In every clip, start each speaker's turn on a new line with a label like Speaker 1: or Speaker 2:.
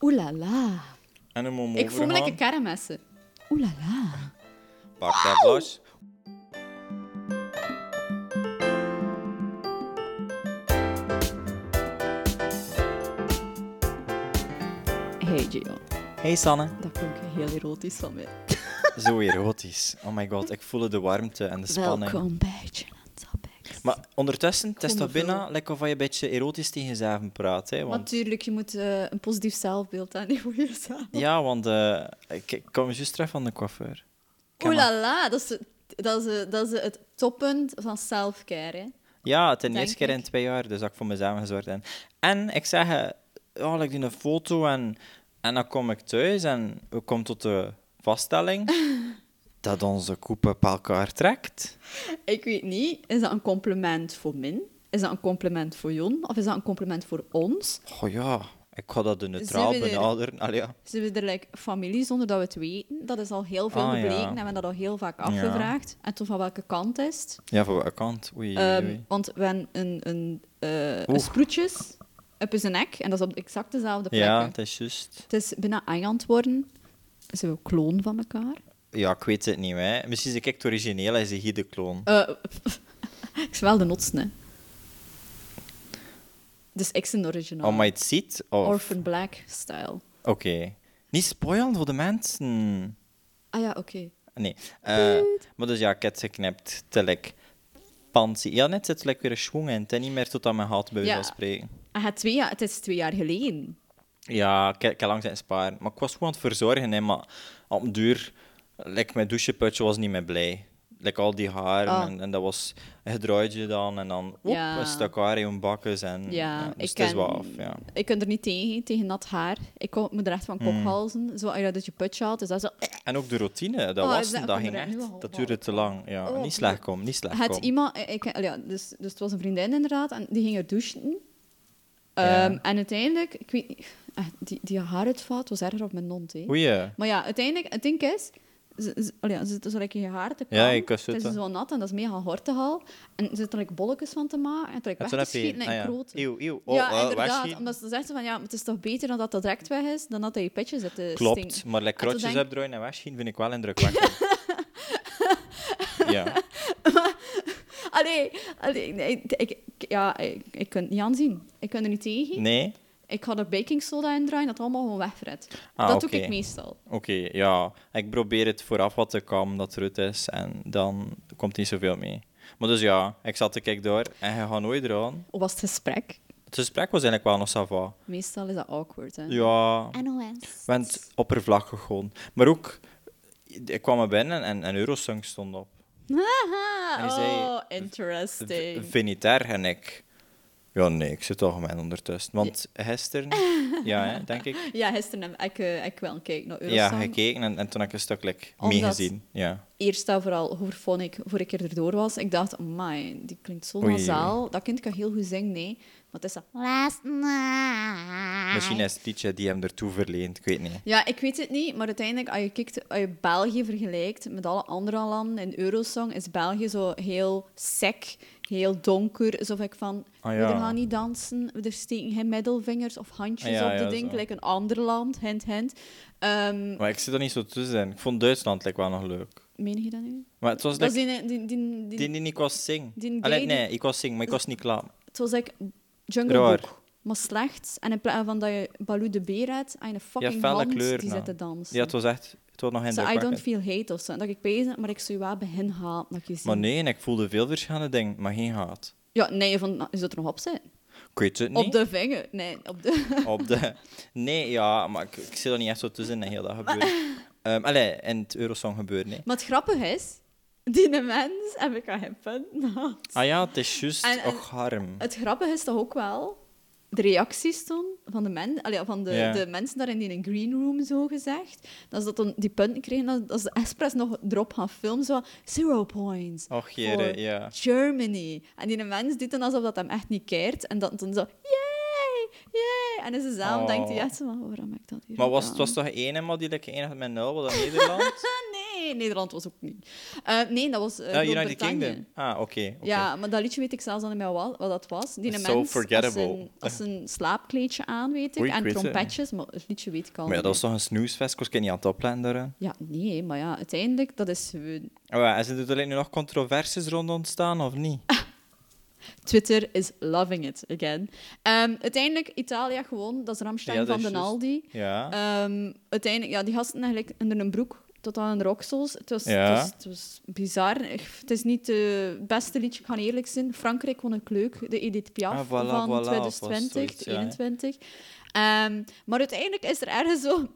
Speaker 1: Oelala.
Speaker 2: En een mom
Speaker 3: Ik voel me lekker karamessen.
Speaker 1: Oelala.
Speaker 2: Pak dat vlas.
Speaker 3: Hey Gio,
Speaker 2: Hey Sanne.
Speaker 3: dat klonk heel erotisch van mij.
Speaker 2: Zo erotisch. Oh my god, ik voel de warmte en de spanning.
Speaker 1: Welkom bij Gin and Topics.
Speaker 2: Maar ondertussen, het is toch
Speaker 3: Wonderful.
Speaker 2: bijna lekker of je een beetje erotisch tegen jezelf praat. Hè? Want,
Speaker 3: Natuurlijk, je moet eh, een positief zelfbeeld hebben voor jezelf.
Speaker 2: ja, want eh, ik, ik kwam juist terug van de coiffeur. Ik heb maar-
Speaker 3: Oelala, dat is, dat, is, dat is het toppunt van selfcare. Hè.
Speaker 2: Ja, het is de
Speaker 3: Denk
Speaker 2: eerste keer in
Speaker 3: ik.
Speaker 2: twee jaar, dus dat ik voor mezelf gezorgd heb. En ik zeg, eh, oh, ik doe een foto en, en dan kom ik thuis en we komen tot de vaststelling dat onze koepen bij elkaar trekt.
Speaker 3: Ik weet niet, is dat een compliment voor Min? Is dat een compliment voor Jon? Of is dat een compliment voor ons?
Speaker 2: Oh ja, ik ga dat de neutraal
Speaker 3: Zijn we er-
Speaker 2: benaderen. Allee, ja.
Speaker 3: Zijn we er like, familie zonder dat we het weten? Dat is al heel veel
Speaker 2: Ah, ja.
Speaker 3: gebleken en we hebben dat al heel vaak afgevraagd. En toen van welke kant is het?
Speaker 2: ja, van welke kant? Oei, oei,
Speaker 3: Ehm,
Speaker 2: oei.
Speaker 3: want we hebben een, een, eh, een
Speaker 2: Oeh.
Speaker 3: sproetjes op zijn nek en dat is op exact dezelfde plek.
Speaker 2: Ja, het is juist.
Speaker 3: Het is bijna eng aan het worden. Zijn we kloon van elkaar?
Speaker 2: Ja, ik weet het niet, hè. Misschien is ik het origineel en zie hier de kloon.
Speaker 3: Eh, ik ben wel de notsen, hè. Dus ik ben original.
Speaker 2: Oh, maar het ziet? Of...
Speaker 3: Orphan Black style.
Speaker 2: Oké. Niet spoilen voor de mensen.
Speaker 3: Ah ja, oké.
Speaker 2: Nee. eh, maar dus ja, ik heb het geknipt. Telek. Pansy. Ja, net zit lekker weer een schwung in. Het is niet meer tot aan mijn hart bij
Speaker 3: Ja.
Speaker 2: ja. spreken.
Speaker 3: Ah, het, twee jaar, het is twee jaar geleden.
Speaker 2: Hmm, Ja, ik, ik heb lang zijn sparen. Maar ik was gewoon aan het verzorgen, hè, maar op den duur, like, mijn doucheputje was niet meer blij. Like, al die haren
Speaker 3: Ah.
Speaker 2: en, en dat was een gedraaidje dan en dan oep,
Speaker 3: Ja.
Speaker 2: een stuk haar in bakkes. En,
Speaker 3: Ja,
Speaker 2: dus
Speaker 3: ik
Speaker 2: het is
Speaker 3: ken-
Speaker 2: wel af. Ja. Hmm.
Speaker 3: Ik kan er niet tegen, tegen nat haar. Ik kon me er echt van kophalzen. Zo, als je dat je putje haalt, is dat zo...
Speaker 2: En ook de routine, dat
Speaker 3: Oh,
Speaker 2: was
Speaker 3: is dat
Speaker 2: dat,
Speaker 3: ook
Speaker 2: ging
Speaker 3: inderdaad nu
Speaker 2: echt.
Speaker 3: al?
Speaker 2: Dat
Speaker 3: Oh.
Speaker 2: duurde te lang. Ja,
Speaker 3: Oh,
Speaker 2: niet slecht komen, niet slecht
Speaker 3: Had
Speaker 2: komen.
Speaker 3: iemand, ik, ik- ja, dus, dus het was een vriendin inderdaad, en die ging er douchen.
Speaker 2: Ja.
Speaker 3: Ehm, En uiteindelijk, ik weet niet, eh, die, die haaruitvat was erger op mijn mond. Hè.
Speaker 2: Oei.
Speaker 3: Maar ja, uiteindelijk, het ding is, ze, ze, allee, ja, ze zitten zo lekker in je haar te
Speaker 2: Ja,
Speaker 3: kammen.
Speaker 2: je kussen
Speaker 3: Het is
Speaker 2: het, hè.
Speaker 3: zo nat en dat is mega hortig al. En er zitten like, bolletjes van te maken en trek weg
Speaker 2: En toen
Speaker 3: te
Speaker 2: heb je...
Speaker 3: schieten en
Speaker 2: ah ja.
Speaker 3: grote.
Speaker 2: Eeuw, eeuw. Oh,
Speaker 3: ja,
Speaker 2: eh,
Speaker 3: inderdaad.
Speaker 2: wegschieten.
Speaker 3: Omdat ze zeggen van, ja, maar het is toch beter dan dat dat direct weg is, dan dat hij je petje zit te
Speaker 2: Klopt,
Speaker 3: stinken.
Speaker 2: maar like,
Speaker 3: En toen
Speaker 2: krotjes
Speaker 3: denk-
Speaker 2: opdraaien en wegschieten vind ik wel indrukwekkend. ja.
Speaker 3: Allee, allee nee, ik, ik- ja, ik, ik kan het niet aanzien. Ik kan er niet tegen.
Speaker 2: Nee?
Speaker 3: Ik ga er baking soda in draaien, dat allemaal gewoon wegfret.
Speaker 2: Ah,
Speaker 3: dat
Speaker 2: oké.
Speaker 3: doe ik meestal.
Speaker 2: Oké, ja. Ik probeer het vooraf wat te komen dat er het is en dan komt niet zoveel mee. Maar dus ja, ik zat te kijken door en je gaat nooit eraan.
Speaker 3: Of was het gesprek?
Speaker 2: Het gesprek was eigenlijk wel nog sava.
Speaker 3: Meestal is dat awkward, hè?
Speaker 2: Ja,
Speaker 1: NOS.
Speaker 2: want oppervlakkig gewoon. Maar ook, ik kwam er binnen en, en Eurosong stond op.
Speaker 3: Haha,
Speaker 2: En je zei-
Speaker 3: oh, interesting.
Speaker 2: V- Vind je het erg? En ik, ja nee, ik zit toch mijn ondertussen. Want gisteren, ja hè, denk ik,
Speaker 3: Ja, gisteren heb ik, eh, ik wel een kijk naar
Speaker 2: ja,
Speaker 3: Eurosong.
Speaker 2: gekeken en, en toen heb ik een stuk like,
Speaker 3: Omdat-
Speaker 2: meegezien. Ja.
Speaker 3: Eerst en vooral, hoe vond ik, voor ik erdoor was, ik dacht, my, die klinkt zo
Speaker 2: Oei,
Speaker 3: nasaal. Dat kind kan heel goed zingen, nee. Maar het is dat...
Speaker 1: Last night.
Speaker 2: Misschien is het liedje die hem ertoe verleent, ik weet niet.
Speaker 3: Ja, ik weet het niet, maar uiteindelijk, als je, kijkt, als je België vergelijkt met alle andere landen in Eurosong, is België zo heel sec, heel donker. Zo ik van,
Speaker 2: Ah, ja.
Speaker 3: we gaan niet dansen, we er steken geen middelvingers of handjes
Speaker 2: Ah, ja,
Speaker 3: op de
Speaker 2: ja,
Speaker 3: ding,
Speaker 2: zo.
Speaker 3: gelijk een ander land, hint, hint. Ehm,
Speaker 2: Maar ik zit er niet zo tussen. Ik vond Duitsland like, wel nog leuk.
Speaker 3: meen je dat nu?
Speaker 2: Maar het was
Speaker 3: Dat is
Speaker 2: like,
Speaker 3: die, die, die, die,
Speaker 2: die die ik was zing.
Speaker 3: die gay
Speaker 2: Allee,
Speaker 3: die-
Speaker 2: nee, ik was zing, maar ik was niet klaar.
Speaker 3: het was like Jungle
Speaker 2: Raar.
Speaker 3: Book, maar slechts. En in plaats van dat je Baloo de Beer hebt, aan je
Speaker 2: Ja,
Speaker 3: fucking
Speaker 2: felle
Speaker 3: hand
Speaker 2: kleur.
Speaker 3: die zit
Speaker 2: nou.
Speaker 3: te dansen.
Speaker 2: Ja, het was echt... Het was nog in
Speaker 3: Zo,
Speaker 2: de
Speaker 3: I don't feel hate of zo. En Dat ik bezig, maar ik zou je wel bij hen halen, dat ik je zie.
Speaker 2: Maar nee, en ik voelde veel verschillende dingen, maar geen haat.
Speaker 3: Ja, nee, van, nou, is dat er nog op zijn?
Speaker 2: Ik weet het niet.
Speaker 3: Op de vinger? Nee, op de...
Speaker 2: Op de- Nee, ja, maar ik, ik zit er niet echt zo tussen in heel dat gebeuren. Ehm allee, in het Eurosong gebeuren, nee.
Speaker 3: maar het grappige is, die mens heb ik aan hem punt gehad.
Speaker 2: Ah ja, het is juist.
Speaker 3: En- en-
Speaker 2: Och, harm.
Speaker 3: Het grappige is toch ook wel, de reacties toen van de, men, allee, van de,
Speaker 2: Ja.
Speaker 3: de mensen daar in die green room, zo gezegd, dat ze dat dan die punten kregen, dat, dat ze expres nog erop gaan filmen, zo zero points.
Speaker 2: Och, jere,
Speaker 3: voor
Speaker 2: ja.
Speaker 3: Germany. En die mens doet dan alsof dat hem echt niet keert. En dan, dan zo, yay, yay. En in zijn zaal
Speaker 2: Oh.
Speaker 3: denkt hij echt zo van, waarom heb ik dat hier
Speaker 2: Maar was, het
Speaker 3: gedaan? Eh,
Speaker 2: was toch één maar die lekker één had met nul, wat dan Nederland?
Speaker 3: Nee, Hey! Nederland was ook niet. Eh, nee, dat was eh,
Speaker 2: Eh, United
Speaker 3: Groot-Brittannië.
Speaker 2: Kingdom. Ah, oké. oké.
Speaker 3: Ja, maar dat liedje weet ik zelfs al niet meer wat, wat dat was. Die
Speaker 2: That's
Speaker 3: mens
Speaker 2: so forgettable.
Speaker 3: Als, een, als een slaapkleedje aan, weet ik.
Speaker 2: Oei, ik
Speaker 3: en
Speaker 2: weet het.
Speaker 3: trompetjes, maar het liedje weet ik al
Speaker 2: Maar ja,
Speaker 3: niet
Speaker 2: dat was toch een snoesfest? Ik was niet aan het opletten daarin.
Speaker 3: meer. Ja, nee, maar ja, uiteindelijk, dat is... eh,
Speaker 2: Oh, ja, en zijn er alleen nu nog controversies rond ontstaan, of niet?
Speaker 3: Twitter is loving it again. Ehm, uiteindelijk, Italia gewoon, dat is Ramstein
Speaker 2: Ja, dat
Speaker 3: van den
Speaker 2: is juist.
Speaker 3: Aldi.
Speaker 2: Ja.
Speaker 3: Ehm, uiteindelijk, ja, die gasten eigenlijk onder een broek tot aan een roksels. Het was,
Speaker 2: Ja.
Speaker 3: het, was, het was bizar. Echt, Het is niet het beste liedje, ik ga eerlijk zijn. Frankrijk vond ik leuk, de Edith Piaf
Speaker 2: Ah, voilà,
Speaker 3: van
Speaker 2: voilà, of was
Speaker 3: 2020,
Speaker 2: zoiets, ja, hè.
Speaker 3: 2021. Ehm, maar uiteindelijk is er ergens zo...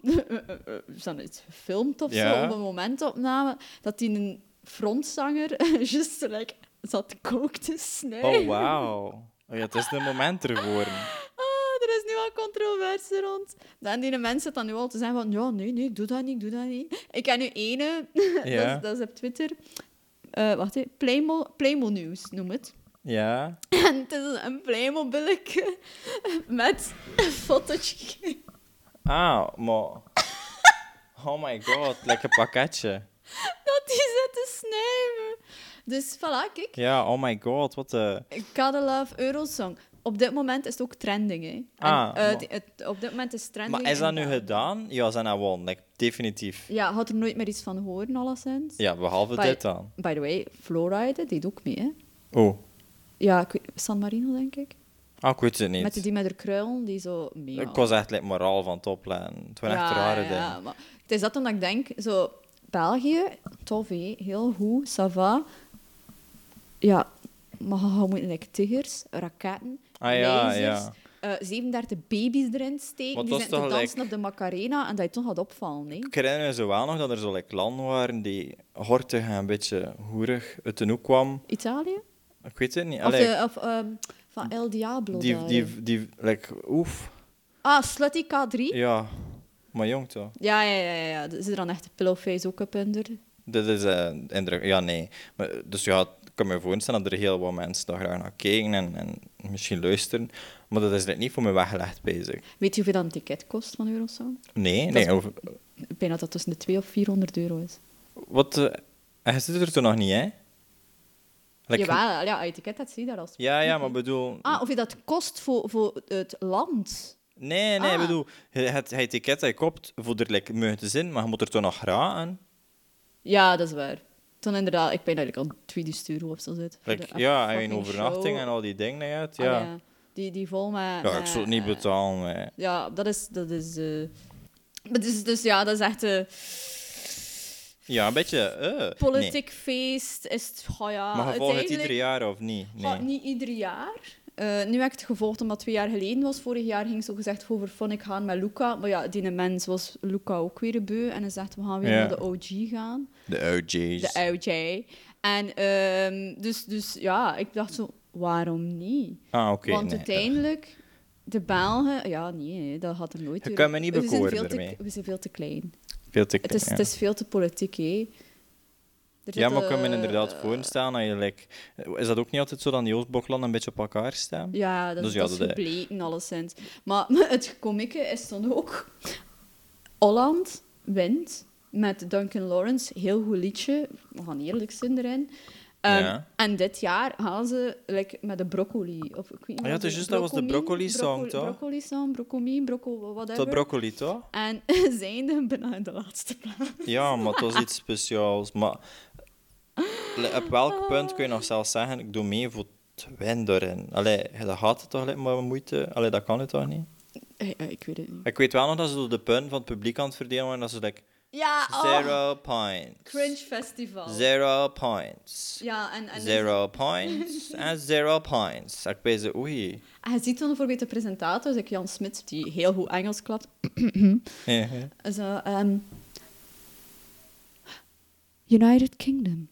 Speaker 3: is dat iets gefilmd of
Speaker 2: Ja.
Speaker 3: zo, op een momentopname, dat die een frontzanger just like, zat kook te snijden.
Speaker 2: Oh, wauw. Oh, ja, het is een moment ervoor.
Speaker 3: Ah, er is nu al controverse rond. Dan die mensen zitten dan nu al te zeggen van... Ja, nee, nee, ik doe dat niet, ik doe dat niet. Ik ken nu ene, dat,
Speaker 2: Ja.
Speaker 3: is, dat is op Twitter. Eh, wacht even, Playmo, Playmo News noem het.
Speaker 2: Ja.
Speaker 3: En het is een Playmobilletje met een fotootje.
Speaker 2: Ah, maar... Oh my god, lekker pakketje.
Speaker 3: Dat die zit te snijden. Dus voilà, kijk.
Speaker 2: Ja, oh my god, wat de...
Speaker 3: Gotta love Eurosong. Op dit moment is het ook trending, hè. En,
Speaker 2: Ah,
Speaker 3: eh,
Speaker 2: maar-
Speaker 3: die- het- op dit moment is het trending.
Speaker 2: Maar is dat
Speaker 3: en-
Speaker 2: nu gedaan? Ja, zijn dat won. Like, definitief.
Speaker 3: Ja, had er nooit meer iets van horen, alleszins.
Speaker 2: Ja, behalve
Speaker 3: Bij-
Speaker 2: dit dan.
Speaker 3: By the way, Florida deed ook mee, hè?
Speaker 2: Oh,
Speaker 3: Ja, ik weet- San Marino, denk ik.
Speaker 2: ah, ik weet het niet.
Speaker 3: Met die, die met haar kruilen, die zo mee.
Speaker 2: Ik was echt like, moraal van het opletten. Het waren echt rare dingen.
Speaker 3: maar het is dat omdat ik denk, zo, België, tof hé, heel goed, ça va. Ja, maar hoe moeten like, tigers, raketten,
Speaker 2: Ah, ja,
Speaker 3: lasers,
Speaker 2: ja.
Speaker 3: eh, 37 baby's erin steken,
Speaker 2: Maar
Speaker 3: die
Speaker 2: dat is
Speaker 3: zijn te
Speaker 2: toch
Speaker 3: dansen
Speaker 2: gelijk-
Speaker 3: op de Macarena en dat je toch gaat opvallen, nee?
Speaker 2: Ik herinner me zo wel nog dat er zo like, landen waren die hortig en een beetje hoerig uit de hoek kwam.
Speaker 3: Italië?
Speaker 2: Ik weet het niet.
Speaker 3: Of,
Speaker 2: Allee,
Speaker 3: de, of ehm, van El Diablo
Speaker 2: die,
Speaker 3: daar, hè.
Speaker 2: die, die, like, oef.
Speaker 3: Ah, Slutty K3?
Speaker 2: Ja, maar jong toch?
Speaker 3: Ja, ja, ja, ja, ja. Er Zit er dan echt een pillowface ook op onder?
Speaker 2: Dat is eh indruk. Ja, nee. Maar, dus ja, ik kan me voorstellen dat er heel wat mensen daar graag naar kijken en, en misschien luisteren. Maar dat is like, niet voor me weggelegd bezig.
Speaker 3: Weet je hoeveel dat een ticket kost van Eurosong?
Speaker 2: Nee,
Speaker 3: Dat
Speaker 2: nee.
Speaker 3: is-
Speaker 2: over-
Speaker 3: Ik denk dat dat tussen de 200 of 400 euro is.
Speaker 2: Wat? eh, hij zit er toen nog niet, hè? Like-
Speaker 3: Jawel, ja, je ticket, dat zie je daar als...
Speaker 2: Ja, ja, maar bedoel.
Speaker 3: Ah, of je dat kost voor, voor het land.
Speaker 2: Nee, nee,
Speaker 3: Ah.
Speaker 2: bedoel. je- Het, het ticket dat je koopt, voor er like, mee te zin, maar je moet er toch nog raken.
Speaker 3: Ja, dat is waar. Toen inderdaad, ik ben dat ik al 2000 euro of zo zit. Voor
Speaker 2: Like,
Speaker 3: de-
Speaker 2: ja, en
Speaker 3: fucking
Speaker 2: een overnachting
Speaker 3: show.
Speaker 2: en al die dingen uit.
Speaker 3: Ah,
Speaker 2: Ja.
Speaker 3: Die, die vol met...
Speaker 2: ja, Nou, ik
Speaker 3: met-
Speaker 2: zou het niet
Speaker 3: eh,
Speaker 2: betalen. hè.
Speaker 3: Ja, dat is... Dat is eh, maar dus, dus ja, dat is echt... eh,
Speaker 2: Ja, een beetje. eh,
Speaker 3: politiek
Speaker 2: nee.
Speaker 3: feest is... het- Oh ja,
Speaker 2: Maar je volgt het
Speaker 3: uiteindelijk-
Speaker 2: ieder jaar of niet? Nee.
Speaker 3: Maar niet ieder jaar. Eh, nu heb ik het gevolgd omdat het twee jaar geleden was. Vorig jaar ging zo gezegd voor Verphonic gaan met Luca. Maar ja, die mens was Luca ook weer een beu. En hij zegt, we gaan weer
Speaker 2: Ja.
Speaker 3: naar
Speaker 2: Dus-
Speaker 3: de OG gaan.
Speaker 2: De OJ's.
Speaker 3: De OJ. En ehm, dus, dus ja, ik dacht zo, waarom niet?
Speaker 2: Ah, oké.
Speaker 3: Want
Speaker 2: nee.
Speaker 3: uiteindelijk, de Belgen... Ja, nee, hè, dat had er nooit
Speaker 2: Je
Speaker 3: door-
Speaker 2: kan me niet
Speaker 3: We zijn
Speaker 2: bekoren
Speaker 3: veel te-
Speaker 2: ermee.
Speaker 3: We zijn veel te klein.
Speaker 2: Veel te
Speaker 3: Het is,
Speaker 2: klein,
Speaker 3: het is veel te politiek, hè. Er
Speaker 2: Ja, maar ik
Speaker 3: zitten,
Speaker 2: kan me inderdaad
Speaker 3: eh,
Speaker 2: voorstellen dat je... like, is dat ook niet altijd zo dat die Oostbloklanden een beetje op elkaar staan?
Speaker 3: Ja, dat,
Speaker 2: Dus ja,
Speaker 3: dat is
Speaker 2: dat-
Speaker 3: gebleken, alleszins. Maar het komieke is dan ook... Holland wint met Duncan Lawrence. Heel goed liedje. We gaan eerlijk zijn erin. Ehm,
Speaker 2: Ja.
Speaker 3: En dit jaar gaan ze like, met de broccoli. Of, ik weet niet
Speaker 2: Ah ja,
Speaker 3: wat
Speaker 2: het is juist, dat was de broccoli-song,
Speaker 3: broccoli-
Speaker 2: toch?
Speaker 3: Broccoli-song, broccoli, broccoli, whatever.
Speaker 2: Tot broccoli, toch?
Speaker 3: en zijn de bijna in de laatste plaats.
Speaker 2: Ja, maar het was iets speciaals. Maar le- op
Speaker 3: Oh.
Speaker 2: welk punt kun je nog zelfs zeggen, ik doe mee voor het win erin? Allee, dat gaat het toch alleen maar moeite? Allee, dat kan het toch niet?
Speaker 3: Eh, eh, ik weet het niet.
Speaker 2: Ik weet wel nog dat ze zo de punten van het publiek aan het verdelen waren. Dat ze like,
Speaker 3: Ja, oh,
Speaker 2: zero points.
Speaker 3: Cringe Festival.
Speaker 2: Zero points.
Speaker 3: Ja, en, en
Speaker 2: Zero points en zero points. Ik ben zo, oei.
Speaker 3: En je ziet dan bijvoorbeeld de presentator, dus ik Jan Smit, die heel goed Engels klapt.
Speaker 2: Ja.
Speaker 3: Zo, ehm, United Kingdom.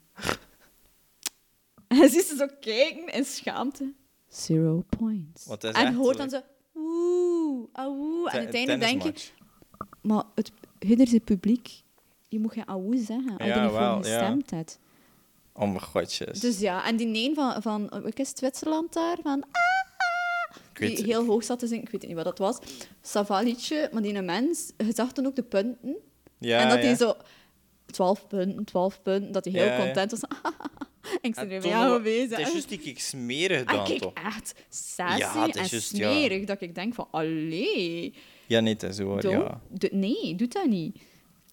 Speaker 3: en hij ziet ze zo kijken in schaamte. Zero points.
Speaker 2: Want dat is
Speaker 3: en
Speaker 2: echt
Speaker 3: hoort
Speaker 2: zo-
Speaker 3: dan zo... Woe, awoe. En
Speaker 2: Ten-
Speaker 3: uiteindelijk denk je...
Speaker 2: tennismatch.
Speaker 3: Maar het, hier is het publiek. Je moet geen awoe zeggen als je
Speaker 2: Ja,
Speaker 3: niet voor
Speaker 2: wel,
Speaker 3: hem
Speaker 2: ja.
Speaker 3: gestemd hebt.
Speaker 2: Oh mijn godjes.
Speaker 3: Dus ja, en die neen van... van wat is het, Zwitserland daar? Van...
Speaker 2: ik weet,
Speaker 3: die heel hoog zat te zingen. Ik weet niet wat dat was. Savalitje, maar die mens, je zag toen ook de punten.
Speaker 2: ja,
Speaker 3: en dat
Speaker 2: ja.
Speaker 3: hij zo 12 punten, 12 punten, dat hij heel
Speaker 2: Ja, ja.
Speaker 3: content was. en ik ben er
Speaker 2: toen
Speaker 3: mee aan
Speaker 2: nog-
Speaker 3: bezig.
Speaker 2: Het is juist die ik smerig
Speaker 3: En
Speaker 2: dan,
Speaker 3: ik
Speaker 2: toch?
Speaker 3: kijk echt sassy
Speaker 2: Ja, het is
Speaker 3: en
Speaker 2: juist, ja.
Speaker 3: smerig dat ik denk van, allee,
Speaker 2: Ja, niet dat is hoor,
Speaker 3: doe,
Speaker 2: ja.
Speaker 3: doe- nee, doe dat niet.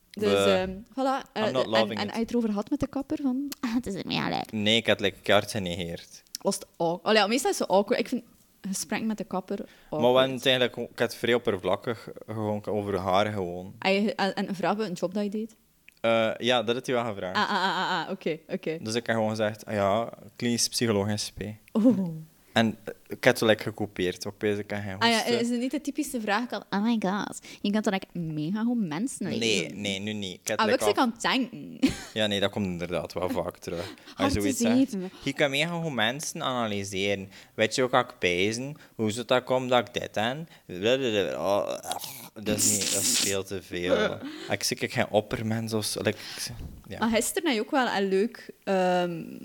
Speaker 3: Dus,
Speaker 2: Bleh.
Speaker 3: ehm, voilà. eh,
Speaker 2: I'm not
Speaker 3: de- en,
Speaker 2: loving
Speaker 3: en
Speaker 2: it.
Speaker 3: hij het erover had met de kapper van,
Speaker 1: Het is meer leuk.
Speaker 2: Nee, ik had lekker kaart genegeerd.
Speaker 3: was het awkward. Allee, ja, meestal is het awkward. Ik vind gesprek met de kapper awkward.
Speaker 2: Maar we hadden het eigenlijk, ik had vrij oppervlakkig gewoon over haar gewoon.
Speaker 3: En, en, en vraag een job dat je deed?
Speaker 2: Eh, ja, dat had hij wel gevraagd.
Speaker 3: Ah, ah, ah, ah, ah, oké, oké.
Speaker 2: Dus ik heb gewoon gezegd, ah ja, klinisch psycholoog SP.
Speaker 3: Oh.
Speaker 2: En eh, ik heb het wel lekker gekopieerd. Opeens ik kan geen
Speaker 3: Ah ja,
Speaker 2: hoesten.
Speaker 3: is het niet de typische vraag? Kan, oh my god, je kunt dan echt mega goed mensen lezen.
Speaker 2: Nee, nee, nu niet. Ik heb
Speaker 3: Ah,
Speaker 2: het
Speaker 3: wat
Speaker 2: lekker
Speaker 3: ik
Speaker 2: af-
Speaker 3: kan denken.
Speaker 2: Ja, nee, dat komt inderdaad wel vaak terug. Als je
Speaker 3: Hard
Speaker 2: zoiets
Speaker 3: te
Speaker 2: zegt.
Speaker 3: zeven.
Speaker 2: Je kan mega goed mensen analyseren. Weet je ook, ik pijzen, hoe zou dat komt dat ik dit aan? Oh, dat is niet, dat is veel te veel. Ik zie ik geen oppermens of zo. Like, ja.
Speaker 3: Maar gisteren heb je ook wel een leuk ehm,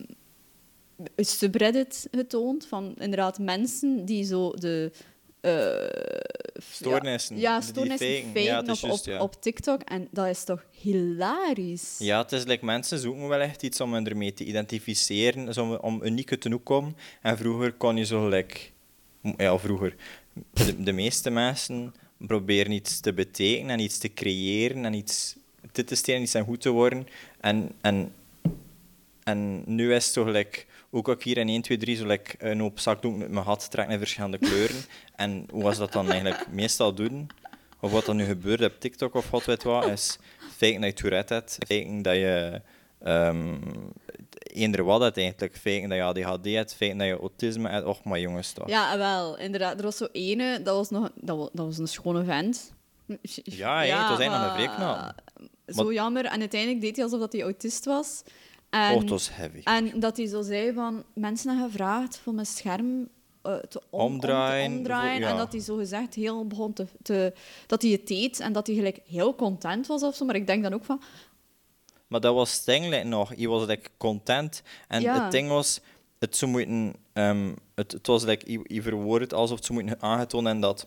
Speaker 3: subreddit getoond van inderdaad mensen die zo de... eh,
Speaker 2: Stoornissen,
Speaker 3: Ja, ja
Speaker 2: die
Speaker 3: stoornissen
Speaker 2: faken.
Speaker 3: faken
Speaker 2: Ja, het
Speaker 3: op,
Speaker 2: is juist,
Speaker 3: op,
Speaker 2: ja.
Speaker 3: op TikTok. En dat is toch hilarisch?
Speaker 2: ja, het is like, mensen zoeken wel echt iets om ermee te identificeren, dus om, om unieke te komen. En vroeger kon je zo like, Ja, vroeger. De, de meeste mensen proberen iets te betekenen en iets te creëren en iets te te stelen, iets aan goed te worden. En, en, en nu is het zo gelijk, ook als ik hier in 1, 2, 3 zo gelijk een hoop zakdoek met mijn gat trek in verschillende kleuren. en hoe was dat dan eigenlijk meestal doen? Of wat dan nu gebeurt op TikTok of wat weet wat, is faken dat je Tourette hebt, faken dat je ehm eender wat hebt eigenlijk, faken dat je ADHD hebt, faken dat je autisme hebt. Och, maar jongens toch.
Speaker 3: Ja, wel, inderdaad. Er was zo ene, dat was, nog, dat was, dat was een schone vent.
Speaker 2: Ja, hè, het was eigenlijk nog een
Speaker 3: maar- Zo
Speaker 2: nou. Maar-
Speaker 3: jammer. En uiteindelijk deed hij alsof dat hij autist was. En,
Speaker 2: Oh, het was heavy.
Speaker 3: en dat hij zo zei van... Mensen hebben gevraagd voor mijn scherm eh, te om- om- te
Speaker 2: Omdraaien,
Speaker 3: omdraaien.
Speaker 2: voor- ja.
Speaker 3: En dat hij zo gezegd heel begon te, te... Dat hij het deed en dat hij gelijk heel content was of zo. Maar ik denk dan ook van...
Speaker 2: Maar dat was het ding like, nog. Je was like, content. En
Speaker 3: Ja.
Speaker 2: het ding was, het zou moeten... ehm, het, het was, like, je, je verwoordt het alsof het zou moeten aangetoond en dat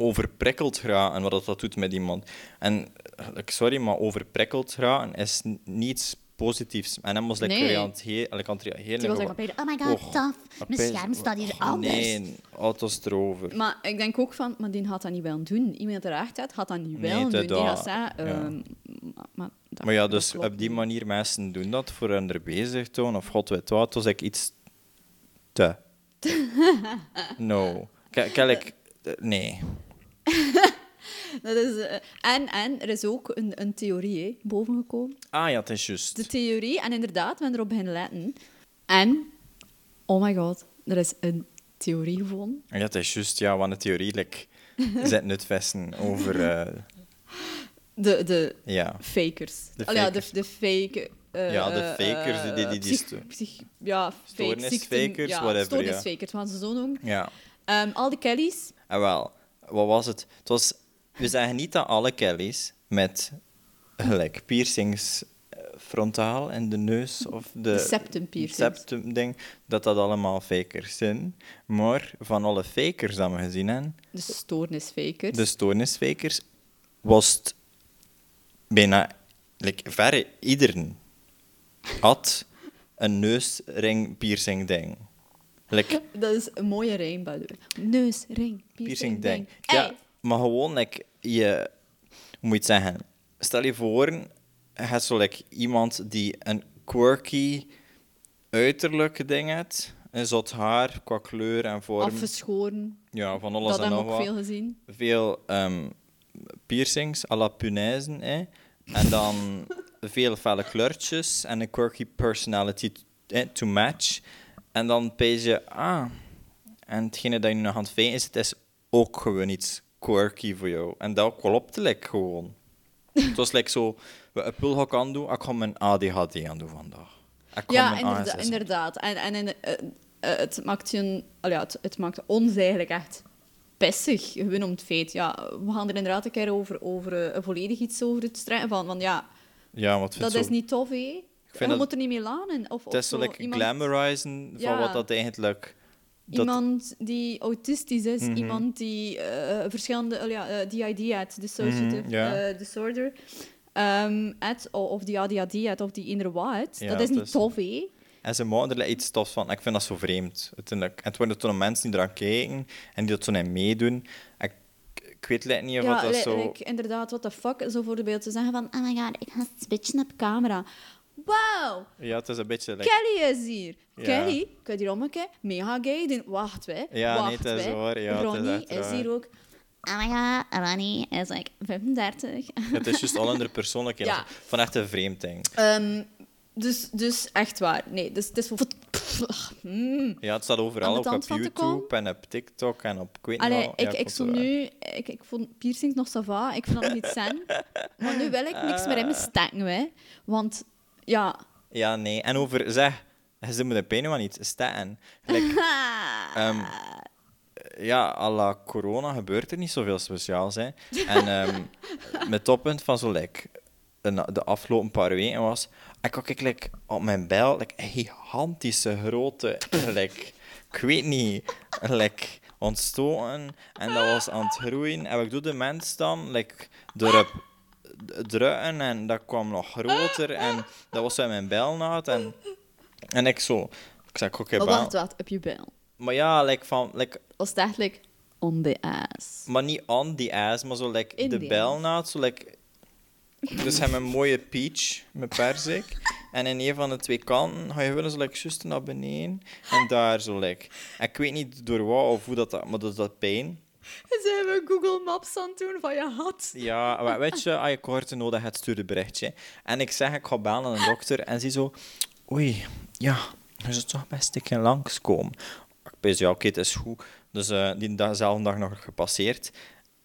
Speaker 2: overprikkeld en wat dat, dat doet met iemand. En, eh, like, sorry, maar overprikkeld raken is n- niets positiefs. En dan was like,
Speaker 3: Nee.
Speaker 2: weer aan het heel... like, aan het reageren.
Speaker 3: Die was
Speaker 2: Like,
Speaker 3: echt
Speaker 1: Oh my god,
Speaker 2: Och,
Speaker 1: tof. Mijn
Speaker 2: opeens-
Speaker 1: scherm staat hier
Speaker 2: Och,
Speaker 1: anders.
Speaker 2: Nee, auto's erover.
Speaker 3: Maar ik denk ook van, maar die had dat niet wel doen. Iemand dat erachter had, had dat niet
Speaker 2: Nee,
Speaker 3: wel doen.
Speaker 2: dat-
Speaker 3: Die gaat
Speaker 2: ja.
Speaker 3: zeggen, ehm, maar, maar dat-
Speaker 2: Maar ja,
Speaker 3: dat
Speaker 2: dus
Speaker 3: klopt
Speaker 2: op die
Speaker 3: niet.
Speaker 2: manier mensen doen dat voor hun er bezig tonen of god weet wat. Het was ik iets te. no. K- Kijk, eh, nee.
Speaker 3: Dat is, eh, en, en er is ook een, een theorie hè, bovengekomen.
Speaker 2: Ah ja, het is juist.
Speaker 3: De theorie, en inderdaad, we hebben erop beginnen letten. En, oh my god, er is een theorie gevonden.
Speaker 2: Ja, het is juist, ja, want de theorie like, zit nu het vesten over. eh,
Speaker 3: De, de
Speaker 2: ja.
Speaker 3: fakers.
Speaker 2: De
Speaker 3: Oh ja, de,
Speaker 2: fakers.
Speaker 3: de fake... eh,
Speaker 2: Ja, de
Speaker 3: eh,
Speaker 2: fakers, die- die- die- die
Speaker 3: psych-
Speaker 2: sto-
Speaker 3: psych- ja, fake
Speaker 2: Stoornisfakers,
Speaker 3: ziekten, ja,
Speaker 2: whatever, ja.
Speaker 3: Stoornisfakers, wat ze zo noemen.
Speaker 2: ja.
Speaker 3: Ehm, al die Kellys.
Speaker 2: En Ah, wel, wat was het? Het was, we zeggen niet dat alle Kellys met gelijk piercings eh, frontaal in de neus of de,
Speaker 3: De septumpiercings.
Speaker 2: septum ding, dat dat allemaal fakers zijn. Maar van alle fakers dat we gezien hebben,
Speaker 3: De stoornisfakers.
Speaker 2: de stoornisfakers, was het bijna like, verre iedereen had een neusring piercing ding. Like,
Speaker 3: Dat is een mooie ring, by the way. Neus, ring, piercing,
Speaker 2: piercing
Speaker 3: ding.
Speaker 2: ding. Ja,
Speaker 3: Ey,
Speaker 2: maar gewoon, like, je hoe moet je het zeggen. Stel je voor, je hebt zo like, iemand die een quirky uiterlijke ding heeft. Een zot haar qua kleur en vorm.
Speaker 3: Afgeschoren.
Speaker 2: ja, van alles
Speaker 3: Dat
Speaker 2: en
Speaker 3: hebben
Speaker 2: nog
Speaker 3: we ook
Speaker 2: wat.
Speaker 3: veel gezien.
Speaker 2: Veel ehm, piercings à la punaizen, hè. En dan veel felle kleurtjes en een quirky personality eh, to match. En dan pees je, ah, en hetgene dat je nog aan het veen is, het is ook gewoon iets quirky voor jou. En dat klopt like, gewoon. het was like zo, wat een pul ik aan doen, ik ga mijn ADHD aan doen vandaag. Ik ga
Speaker 3: Ja,
Speaker 2: mijn
Speaker 3: inderda-
Speaker 2: ASS
Speaker 3: inderdaad. En, en, en eh, eh, het, maakt je, al ja, het, het maakt ons eigenlijk echt pissig, gewoon om het feit. Ja, we gaan er inderdaad een keer over, over eh, volledig iets over het strijden. Van, van ja,
Speaker 2: Ja, want ik vind
Speaker 3: dat
Speaker 2: zo-
Speaker 3: is niet tof, hé. Je
Speaker 2: dat-
Speaker 3: moet er niet mee lanen. Of,
Speaker 2: Het is zo like glamorizen van
Speaker 3: Ja.
Speaker 2: wat dat eigenlijk... dat- Mhm.
Speaker 3: Iemand die autistisch is, iemand die eh, verschillende eh, ja, eh, DID had, dissociative
Speaker 2: Mhm, ja.
Speaker 3: eh, disorder. Ehm, het, o- of die ADHD het, of die inderwaad.
Speaker 2: Ja,
Speaker 3: dat is
Speaker 2: het
Speaker 3: niet
Speaker 2: is-
Speaker 3: tof, hè?
Speaker 2: En ze maken er iets tofs van. Ik vind dat zo vreemd. Uiteindelijk. En het worden toen mensen die eraan kijken en die dat zo niet meedoen. Ik, ik weet het niet of
Speaker 3: Ja,
Speaker 2: dat zo...
Speaker 3: like, inderdaad, what the fuck. Zo bijvoorbeeld te zeggen van, oh my god, ik ga switchen op camera. Wow,
Speaker 2: Ja, het is een beetje... like-
Speaker 3: Kelly is hier.
Speaker 2: Ja.
Speaker 3: Kelly, kun je hier om een keer? Mega gay doen. Wacht, wij.
Speaker 2: Ja, nee,
Speaker 3: wacht,
Speaker 2: het is
Speaker 3: wij.
Speaker 2: waar. Ja, het is
Speaker 3: Ronnie
Speaker 2: echt waar.
Speaker 3: hier ook. Oh my god, Ronnie is like 35.
Speaker 2: Het is juist al andere persoonlijkheid.
Speaker 3: Ja.
Speaker 2: Van echt een vreemd ding.
Speaker 3: Ehm, dus, dus echt waar. Nee, dus het is voor... Pff, mm.
Speaker 2: Ja, het staat
Speaker 3: Aan
Speaker 2: overal,
Speaker 3: de
Speaker 2: ook
Speaker 3: tand
Speaker 2: op
Speaker 3: van te
Speaker 2: YouTube en op TikTok en op... Ik weet niet
Speaker 3: Allee,
Speaker 2: wat. Ja,
Speaker 3: ik, ik
Speaker 2: vond het
Speaker 3: stond
Speaker 2: wel-
Speaker 3: nu... Ik, ik vond piercings nog sava. Ik vond dat nog niet zen. Maar nu wil ik niks meer in mijn stekken, hè. Want, ja...
Speaker 2: Ja, nee. En over... Zeg, ze doen me de pijn maar niet. Staan. Gelijk, ehm, ja, à la corona gebeurt er niet zoveel speciaals. Hè. En ehm mijn toppunt van zo, like, een- de afgelopen paar weken was... Ik had ik, like, op mijn bijl like, een gigantische grote... Like, ik weet niet. Like, ontstoken. En dat was aan het groeien. En wat doet de mens dan? Like, door op drukken. En dat kwam nog groter. En dat was uit mijn bijlnaad. En, en ik zo... Ik zei, oké,
Speaker 3: Maar
Speaker 2: bijl.
Speaker 3: wacht, wacht. Op je bil.
Speaker 2: Maar ja, like, van... Like,
Speaker 3: was het eigenlijk on the ass.
Speaker 2: Maar niet on the ass, maar zo like
Speaker 3: In
Speaker 2: de
Speaker 3: the
Speaker 2: belnaad. Zo like... Dus heb een mooie peach met perzik. en in een van de twee kanten ga je willen zo like juist naar beneden. En daar zo like... Ik weet niet door wat of hoe dat... dat- Maar dat dat pijn.
Speaker 3: Ze hebben Google Maps aan het doen van je had.
Speaker 2: Ja, maar weet je, als je korte nodig hebt, stuur een berichtje. En ik zeg, ik ga bellen aan een dokter. En zie zo... Oei, ja, je zou toch best een keer langskomen. Ik pens, ja, oké, het is goed. Dus eh, die dagzelfde dag nog gepasseerd.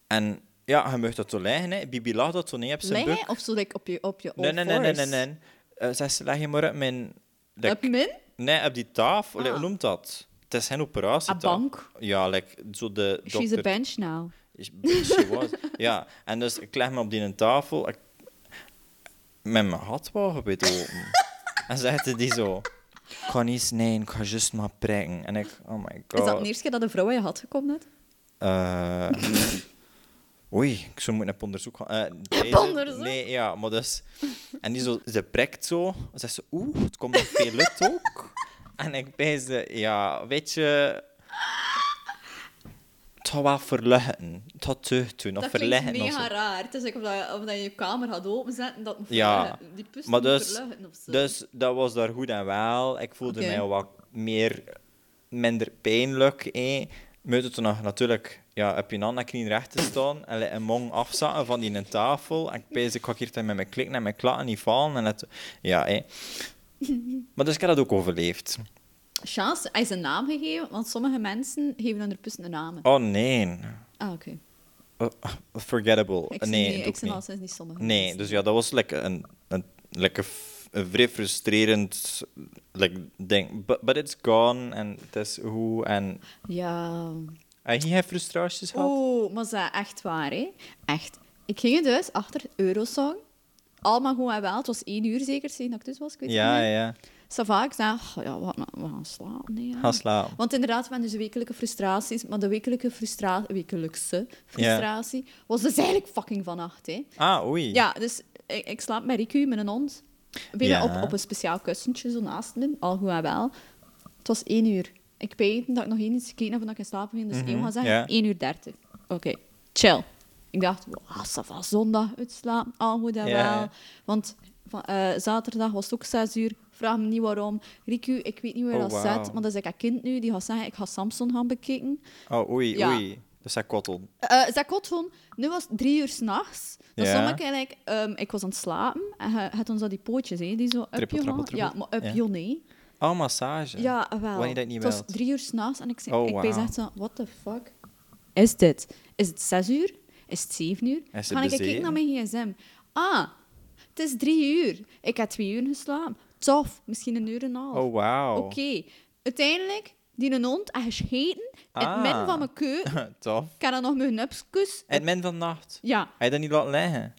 Speaker 2: En ja, je mag dat zo liggen, hè. Bibi lag dat zo niet op zijn
Speaker 3: Leg
Speaker 2: buik.
Speaker 3: je of zo like, op je op je
Speaker 2: Nee, nee, nee, nee, nee, nee. Eh, Zeg, ze leg je maar op mijn... like,
Speaker 3: Op min?
Speaker 2: Nee, op die tafel. Allee,
Speaker 3: Ah.
Speaker 2: Hoe noemt dat? Het is geen operatie.
Speaker 3: Een bank?
Speaker 2: Ja, like, zo de
Speaker 3: She's a
Speaker 2: dokter
Speaker 3: bench now.
Speaker 2: is- She was. ja, en dus ik leg me op die tafel. Ik, met mijn handwagen weet open. en zegt die zo... Ik ga niet snijden, ik ga juist maar prikken. En ik, oh my god.
Speaker 3: Is dat de eerste keer dat een vrouw aan je had gekomen net?
Speaker 2: Eh, oei, ik zou moeten op onderzoek gaan. Eh, deze-
Speaker 3: onderzoek?
Speaker 2: Nee, ja, maar dus... En die zo, ze prikt zo. Dan zegt ze, oeh, het komt nog veel lucht ook. En ik bij ze, ja, weet je... Het gaat wel verleggen. Het gaat terug doen, of
Speaker 3: dat
Speaker 2: verleggen
Speaker 3: klinkt
Speaker 2: of
Speaker 3: mega
Speaker 2: zo.
Speaker 3: raar. Het is like of, dat, of dat je je kamer gaat openzetten. Dat moet
Speaker 2: Ja,
Speaker 3: verleggen. Die pust
Speaker 2: maar
Speaker 3: moet
Speaker 2: dus,
Speaker 3: verleggen of zo.
Speaker 2: dus dat was daar goed en wel. Ik voelde
Speaker 3: Oké.
Speaker 2: mij wat meer, minder pijnlijk. Eh. Moet het nog natuurlijk ja, op je handen knieën recht te staan en een mong afzakken van die tafel. En ik pees, ik ga hier tegen met mijn klikken en mijn klatten niet vallen. En het, ja, eh. Maar dus ik heb dat ook overleefd.
Speaker 3: Chance, hij is een naam gegeven, want sommige mensen geven hun pussen een naam.
Speaker 2: Oh nee.
Speaker 3: Ah, oké.
Speaker 2: Oh, forgettable.
Speaker 3: Ik
Speaker 2: nee,
Speaker 3: zie niet-
Speaker 2: doe
Speaker 3: ik
Speaker 2: ik
Speaker 3: zie
Speaker 2: niet.
Speaker 3: al sinds niet sommige
Speaker 2: Nee,
Speaker 3: mensen.
Speaker 2: dus ja, dat was lekker een, een, lekker f- een vrij frustrerend like, ding. But, but it's gone en het is hoe en
Speaker 3: Ja...
Speaker 2: en je hebt frustraties gehad?
Speaker 3: Oeh, maar ze, echt waar, hè? Echt. Ik ging dus achter Eurosong. Allemaal goed en wel. Het was één uur zeker, sinds dat ik dus was. Ik weet het
Speaker 2: Ja,
Speaker 3: niet meer.
Speaker 2: ja.
Speaker 3: Ça va, ik zei, "Goh, ja, wat, we gaan slapen. Nee, ja."
Speaker 2: Ga slapen.
Speaker 3: Want inderdaad, we hebben dus wekelijke frustraties. Maar de wekelijke frustra wekelijkse frustratie was dus eigenlijk fucking vannacht, hè?
Speaker 2: Ah, oei.
Speaker 3: Ja, dus ik, ik slaap met Riku, mijn hond. Bijna
Speaker 2: Ja.
Speaker 3: op, op een speciaal kussentje, zo naast me. Al goed en wel. Het was één uur. Ik weet dat ik nog één iets gekeken heb voordat ik in slaap ging. Dus
Speaker 2: Mhm,
Speaker 3: één gaan zeggen,
Speaker 2: ja.
Speaker 3: 1 uur 30. Oké, chill. Ik dacht, wow, ça va, zondag uitslapen. Al goed en
Speaker 2: Ja,
Speaker 3: wel.
Speaker 2: ja.
Speaker 3: Want van, eh, zaterdag was het ook 6 uur. Vraag me niet waarom. Riku, ik weet niet waar
Speaker 2: Oh,
Speaker 3: dat
Speaker 2: wauw.
Speaker 3: zit. Maar dat is like een kind nu. Die gaat zeggen, ik ga Samson gaan bekijken.
Speaker 2: Oh, oei,
Speaker 3: Ja.
Speaker 2: oei. Dus dat kottel.
Speaker 3: Eh dat klopt gewoon. Nu was het drie uur s'nachts. Dan
Speaker 2: Ja.
Speaker 3: stond ik eigenlijk... ehm, ik was aan het slapen. En je had ons al die pootjes, hè, die zo up
Speaker 2: Trippel,
Speaker 3: je
Speaker 2: trappel,
Speaker 3: hand- Ja,
Speaker 2: trippel.
Speaker 3: maar up
Speaker 2: Ja.
Speaker 3: je nee.
Speaker 2: Oh, massage.
Speaker 3: Ja, ah, wel.
Speaker 2: Wanneer je dat niet
Speaker 3: het was
Speaker 2: wilt.
Speaker 3: drie uur s'nachts en ik zei...
Speaker 2: Oh,
Speaker 3: ik
Speaker 2: wauw.
Speaker 3: ben echt zo... What the fuck is dit? Is het zes uur? Is het zeven uur?
Speaker 2: het
Speaker 3: Ga ik
Speaker 2: de
Speaker 3: kijken
Speaker 2: zeven?
Speaker 3: naar mijn gsm. Ah, het is drie uur. Ik heb twee uur geslapen. Tof. Misschien een uur en een half.
Speaker 2: Oh, wauw.
Speaker 3: Oké. Uiteindelijk, die een hond heeft gescheten in het
Speaker 2: Ah.
Speaker 3: midden van mijn keuken.
Speaker 2: Tof.
Speaker 3: Ik heb dan nog mijn hupskus.
Speaker 2: En men van de nacht.
Speaker 3: Ja,
Speaker 2: Hij dat niet laten liggen?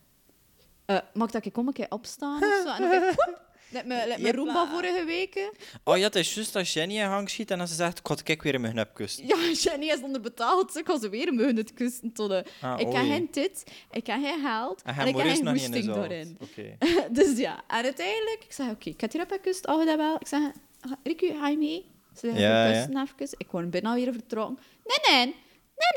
Speaker 3: Eh, mag dat ik om een keer opstaan of zo? En dan denk ik, woep, Let me, let me
Speaker 2: Jepla.
Speaker 3: Roomba vorige weken.
Speaker 2: Oh ja, het is juist dat Jenny in gang schiet en als ze zegt, ik ga het kijk weer in mijn nep kussen.
Speaker 3: Ja, Jenny is onderbetaald. Ik ga ze weer mijn het kussen tonnen.
Speaker 2: Ah,
Speaker 3: ik heb
Speaker 2: oei.
Speaker 3: geen tit, ik heb geen geld en,
Speaker 2: En hij
Speaker 3: ik heb
Speaker 2: Maurice
Speaker 3: geen
Speaker 2: nog niet in de
Speaker 3: hoesting
Speaker 2: zaal.
Speaker 3: daarin.
Speaker 2: Oké.
Speaker 3: dus ja, en uiteindelijk, ik zei, oké, ik heb hier op gekust, oh, dat wel. Ik zei, "Ga- Ricky, ga je mee? Ze legde
Speaker 2: Ja,
Speaker 3: ja,
Speaker 2: ja.
Speaker 3: kussen even. Ik word bijna weer vertrokken. Nee, nee,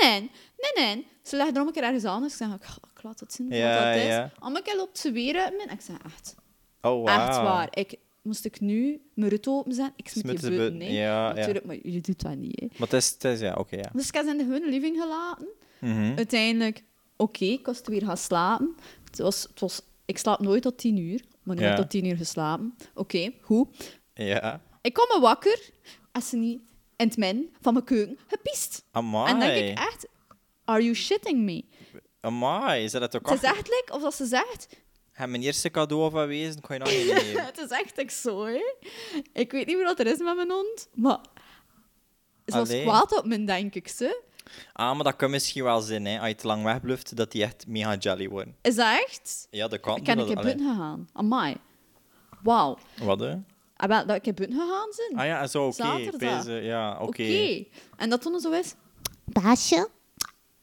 Speaker 3: nee, nee, nee, nee. Ze legde er om een keer ergens anders. Ik zei, ik, ik laat het zien
Speaker 2: Ja,
Speaker 3: wat dat
Speaker 2: ja.
Speaker 3: is. Om een keer loopt ze weer uit mijn... Ik zei, echt,
Speaker 2: Oh, wauw.
Speaker 3: echt waar. Ik, moest ik nu mijn rut openzetten? Ik smit die
Speaker 2: Smitten
Speaker 3: buiten,
Speaker 2: buiten,
Speaker 3: hè.
Speaker 2: ja, ja.
Speaker 3: Natuurlijk, maar jullie doen dat niet, hè.
Speaker 2: Maar het is, het is ja, oké, ja.
Speaker 3: Dus ik heb ze in hun living gelaten.
Speaker 2: Mhm.
Speaker 3: Uiteindelijk, oké, ik was weer gaan slapen. Het was, het was, ik slaap nooit tot tien uur, maar nu
Speaker 2: Ja.
Speaker 3: heb ik tot tien uur geslapen. Oké, goed.
Speaker 2: Ja.
Speaker 3: Ik kom me wakker als ze niet in het min van mijn keuken gepiest.
Speaker 2: Amai.
Speaker 3: En denk ik echt, are you shitting me?
Speaker 2: Amai, is dat het ook
Speaker 3: Het is
Speaker 2: achter?
Speaker 3: echt like, of dat ze zegt,
Speaker 2: Heb mijn eerste cadeau van wezen, kan je nog niet nemen.
Speaker 3: het is echt ik zo, hè. Ik weet niet meer wat er is met mijn hond, maar ze was
Speaker 2: Allee.
Speaker 3: kwaad op me, denk ik, ze.
Speaker 2: ah, maar dat kan misschien wel zijn, hè. Als je te lang wegbluft, dat die echt mega jelly worden.
Speaker 3: Is dat echt?
Speaker 2: Ja, dat kan.
Speaker 3: Ik ben een
Speaker 2: dat-
Speaker 3: keer
Speaker 2: allee.
Speaker 3: buiten gegaan. Amai. Wauw.
Speaker 2: Wat, hè?
Speaker 3: Ah, wel, dat ik heb buiten gegaan zijn.
Speaker 2: Ah ja, zo, oké.
Speaker 3: Zaterdag.
Speaker 2: Pezen, Ja, oké.
Speaker 3: Oké. En dat toen zo is.
Speaker 1: Baasje,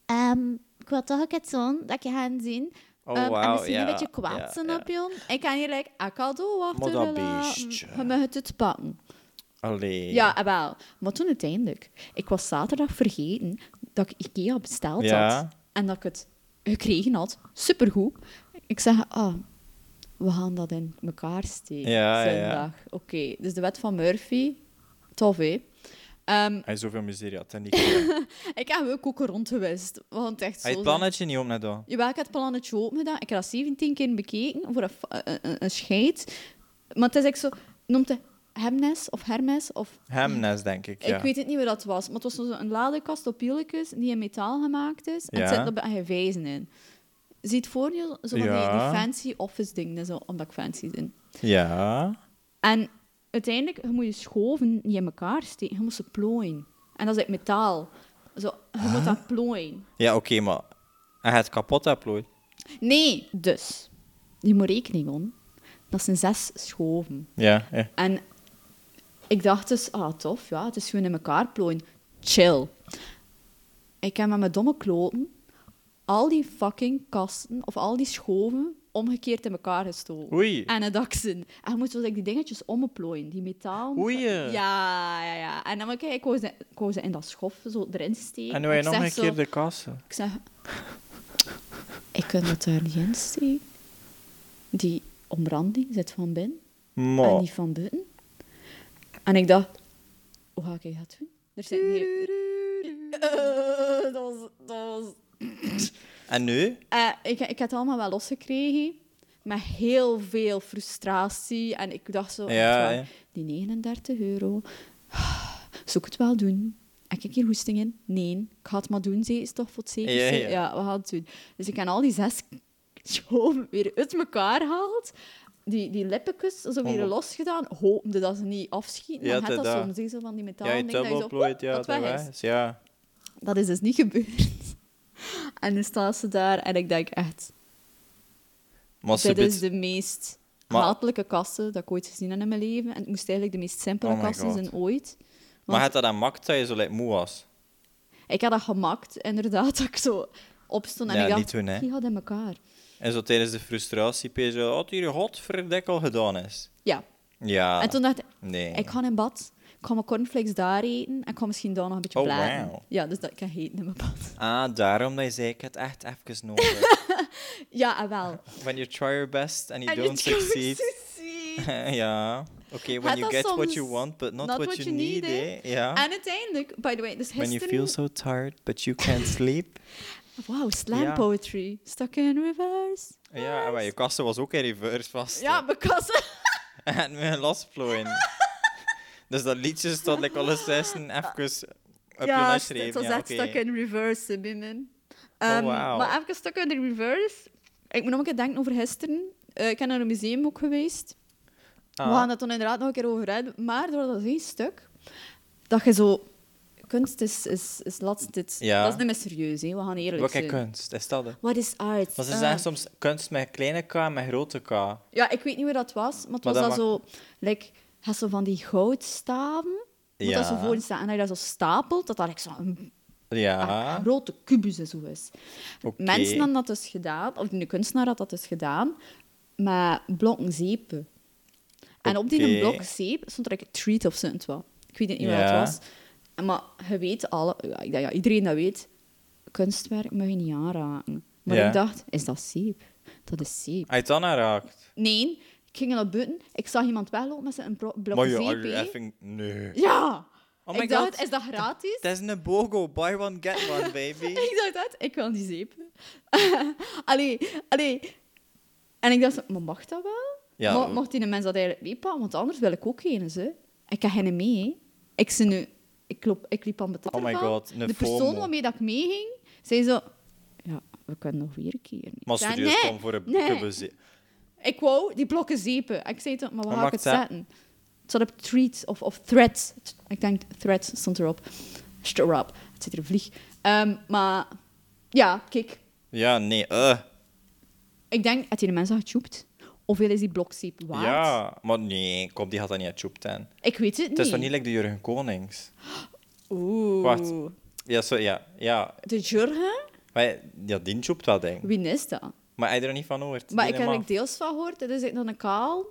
Speaker 1: ehm, ik wil toch ook het zo'n dat je gaan zien.
Speaker 2: Oh,
Speaker 1: Ehm, en
Speaker 2: wauw,
Speaker 1: misschien
Speaker 2: ja,
Speaker 3: een beetje kwaad
Speaker 2: ja,
Speaker 3: zijn
Speaker 2: ja.
Speaker 3: op je. Ik kan hier like, een cadeau
Speaker 2: dat
Speaker 3: achterlaten.
Speaker 2: beestje.
Speaker 3: Je mag het uitpakken.
Speaker 2: Allee.
Speaker 3: Ja, ah, wel. Maar toen uiteindelijk. Ik was zaterdag vergeten dat ik Ikea besteld
Speaker 2: Ja.
Speaker 3: had. En dat ik het gekregen had. Supergoed. Ik zeg, ah, we gaan dat in elkaar steken.
Speaker 2: Ja, ja, ja.
Speaker 3: zondag. Oké, dus de wet van Murphy. Tof, hè? Ehm,
Speaker 2: Hij is zoveel miserie had. En die keer.
Speaker 3: ik heb ook ook rond geweest. Want echt zo...
Speaker 2: Hij
Speaker 3: zijn-
Speaker 2: het plannetje niet om net al.
Speaker 3: Jawel, ik had het plannetje open gedaan. Ik heb dat 17 keer bekeken voor een, fa- een, een- een scheid. Maar het is echt zo... Noemt het Hemnes of Hermes? Of,
Speaker 2: Hemnes, denk ik. Ja.
Speaker 3: Ik weet het niet wat dat was. Maar het was zo een ladekast op wieltjes die in metaal gemaakt is. En
Speaker 2: Ja.
Speaker 3: het zit er bij- en je vijzen in. Ziet voor je zo van die- die,
Speaker 2: Ja.
Speaker 3: fancy office dingen, zo, omdat ik fancy ben.
Speaker 2: Ja.
Speaker 3: En uiteindelijk, je moet je schoven niet in elkaar steken. Je moet ze plooien. En dat is uit metaal. Zo, je moet dat plooien.
Speaker 2: Ja, oké, maar... Hij gaat kapot uploaden.
Speaker 3: Nee, dus. Je moet rekening om. Dat zijn zes schoven.
Speaker 2: Ja, ja.
Speaker 3: En ik dacht dus, ah tof, ja, het is gewoon in elkaar plooien. Chill. Ik heb met mijn domme kloten al die fucking kasten of al die schoven omgekeerd in elkaar gestoken.
Speaker 2: Oei.
Speaker 3: En het daksen. En je moet zo like, die dingetjes omplooien, die metaal.
Speaker 2: Oei.
Speaker 3: Ja, ja, ja. En dan moet ik, ik wou ze, ik wou ze in dat schof zo erin steken.
Speaker 2: En nu heb
Speaker 3: Ik
Speaker 2: je nog
Speaker 3: zeg
Speaker 2: een
Speaker 3: zo-
Speaker 2: keer de kassen.
Speaker 3: ik zeg, ik kan het daar niet in steken. Die omranding zit van binnen en
Speaker 2: Maar...
Speaker 3: Ah, niet van buiten. En ik dacht, hoe ga ik dat doen? Er zit hier... dat was... Dat was...
Speaker 2: En nu?
Speaker 3: Eh, ik, ik had het allemaal wel losgekregen. Met heel veel frustratie. En ik dacht zo,
Speaker 2: Ja,
Speaker 3: echt waar,
Speaker 2: ja.
Speaker 3: die 39 euro, zou ik het wel doen? Heb ik hier hoesting in? Nee. Ik ga het maar doen, ze is toch voor het zekerste?
Speaker 2: Ja, ja.
Speaker 3: we gaan het doen. Dus ik heb al die zes schoven weer uit elkaar gehaald. Die, die lippenkus zo weer
Speaker 2: Oh.
Speaker 3: losgedaan, hopende dat ze niet afschieten.
Speaker 2: Ja,
Speaker 3: maar je hebt dat
Speaker 2: tada.
Speaker 3: soms, hè, zo van die
Speaker 2: Ja,
Speaker 3: metalen
Speaker 2: je
Speaker 3: dingen, dat je zo,
Speaker 2: dubbelplooit,
Speaker 3: woep,
Speaker 2: ja,
Speaker 3: dat weg is.
Speaker 2: is. Ja.
Speaker 3: Dat is dus niet gebeurd. En nu staan ze daar en ik denk echt,
Speaker 2: Maar ze
Speaker 3: dit is
Speaker 2: biedt...
Speaker 3: de meest
Speaker 2: Maar-
Speaker 3: hatelijke kassen dat ik ooit gezien heb in mijn leven. En het moest eigenlijk de meest simpele
Speaker 2: Oh my
Speaker 3: kassen
Speaker 2: God.
Speaker 3: zijn ooit.
Speaker 2: Maar had dat dan makt dat je zo like, moe was?
Speaker 3: Ik had dat gemakt, inderdaad, dat ik zo opstond en
Speaker 2: Ja,
Speaker 3: ik dacht,
Speaker 2: niet doen, hè.
Speaker 3: die gaat in elkaar.
Speaker 2: En zo tijdens de frustratie pees je, wat hier godverdek al gedaan is.
Speaker 3: Ja.
Speaker 2: Ah, Ja.
Speaker 3: En toen dacht ik,
Speaker 2: Nee.
Speaker 3: ik ga in bad, ik ga mijn cornflakes daar eten en ik ga misschien daar nog een beetje
Speaker 2: Oh,
Speaker 3: bladen.
Speaker 2: wauw.
Speaker 3: Ja, dus dat ik kan eten in mijn bad.
Speaker 2: Ah, daarom dat je zei, ik het echt even nodig.
Speaker 3: Ja, en wel.
Speaker 2: when you try your best and you
Speaker 3: En
Speaker 2: don't
Speaker 3: het kan
Speaker 2: succeed.
Speaker 3: succeed.
Speaker 2: ja. Oké, when
Speaker 3: Had
Speaker 2: you
Speaker 3: dat
Speaker 2: get what
Speaker 3: soms
Speaker 2: you want, but not, what, you need,
Speaker 3: hè.
Speaker 2: eh? Ja.
Speaker 3: En uiteindelijk, by the way, dus
Speaker 2: When you
Speaker 3: gisteren...
Speaker 2: feel so tired, but you can't sleep.
Speaker 3: Wauw, slam
Speaker 2: Ja.
Speaker 3: poetry. Stuck in reverse.
Speaker 2: ja, maar je kassen was ook in reverse vast.
Speaker 3: Ja,
Speaker 2: hè.
Speaker 3: because...
Speaker 2: en me losplooien. dus dat liedje stond ik alle zes en even op je
Speaker 3: ja,
Speaker 2: les
Speaker 3: het
Speaker 2: schreef.
Speaker 3: was
Speaker 2: ja,
Speaker 3: echt
Speaker 2: oké.
Speaker 3: stuck in reverse, hè, binnen.
Speaker 2: Oh,
Speaker 3: Ehm,
Speaker 2: wauw.
Speaker 3: Maar even stuck in reverse. Ik moet nog een keer denken over gisteren. Eh, ik ben naar een museum ook geweest.
Speaker 2: Ah.
Speaker 3: We gaan dat toen inderdaad nog een keer over hebben. Maar door dat één stuk, dat je zo kunst is, is, is laatst dit.
Speaker 2: Ja.
Speaker 3: Dat is niet meer serieus, hè. we gaan eerlijk
Speaker 2: Wat is
Speaker 3: zijn.
Speaker 2: kunst? Is dat het?
Speaker 3: What is art?
Speaker 2: Maar ze
Speaker 3: Ah.
Speaker 2: zeggen soms kunst met kleine k en met grote k.
Speaker 3: Ja, ik weet niet meer dat was, maar het
Speaker 2: Maar
Speaker 3: was dat
Speaker 2: dat
Speaker 3: zo... Like, had zo van die goudstaven, moet dat zo
Speaker 2: Ja.
Speaker 3: voor staan. En dat je dat zo stapelt, dat dat like zo'n
Speaker 2: Ja.
Speaker 3: Ah, grote kubus en zo is.
Speaker 2: Oké.
Speaker 3: Mensen hadden dat dus gedaan, of de kunstenaar had dat dus gedaan, met blokken zeep. En op die
Speaker 2: Oké.
Speaker 3: blok zeep stond er like, treat of zoiets wat. Ik weet niet meer
Speaker 2: Ja.
Speaker 3: wat het was. En Maar je weet alle... Ja, ik denk, ja, iedereen dat weet, kunstwerk mag je niet aanraken. Maar
Speaker 2: Ja.
Speaker 3: ik dacht, is dat zeep? Dat is zeep.
Speaker 2: Hij het dan aanraakt.
Speaker 3: Nee, ik ging naar buiten. Ik zag iemand weglopen met zijn bro- blok
Speaker 2: Maar je
Speaker 3: zeep,
Speaker 2: are you
Speaker 3: hè.
Speaker 2: effing- Nee.
Speaker 3: Ja!
Speaker 2: Oh my
Speaker 3: ik dacht,
Speaker 2: God.
Speaker 3: is dat gratis?
Speaker 2: Dat is een bogo. Buy one, get one, baby.
Speaker 3: ik dacht dat, ik wil die zeep. allee, allee. En ik dacht, maar mag dat wel?
Speaker 2: Ja.
Speaker 3: Mo- mocht die mens dat eigenlijk meepakken? Want anders wil ik ook geen eens, hè. Ik heb geen mee, hè. Ik, ze nu, ik, loop, ik liep aan mijn
Speaker 2: Oh my
Speaker 3: tatterval.
Speaker 2: God, een
Speaker 3: De persoon
Speaker 2: FOMO.
Speaker 3: waarmee dat ik meeging, zei zo... Ja, we kunnen nog weer een keer. Ik
Speaker 2: Maar
Speaker 3: zei,
Speaker 2: serieus,
Speaker 3: nee,
Speaker 2: kom voor een
Speaker 3: nee.
Speaker 2: kubus.
Speaker 3: Ik wou die blokken zeepen. Ik zei toen, maar waar
Speaker 2: Wat
Speaker 3: ga ik het
Speaker 2: maakt dat?
Speaker 3: zetten? Het zat op treat of, of threads. T- Ik denk threads stond erop. Stond erop. Het zit er een vlieg. Ehm, maar ja, kijk.
Speaker 2: Ja, nee. eh.
Speaker 3: Ik denk, had die de mensen getjoept? Hoeveel is die blokzeep waard?
Speaker 2: Ja, maar nee, kom, die had dat niet uit Joep ten.
Speaker 3: Ik weet het niet.
Speaker 2: Het is toch niet like de Jurgen Konings?
Speaker 3: Oeh.
Speaker 2: Wacht. Ja, sorry, ja. ja.
Speaker 3: De Jurgen?
Speaker 2: Maar ja, die joept dat, denk ik.
Speaker 3: Wie is dat?
Speaker 2: Maar hij er niet van hoort.
Speaker 3: Maar
Speaker 2: Die
Speaker 3: ik heb er
Speaker 2: helemaal-
Speaker 3: deels van gehoord. Dat is echt dan een kaal.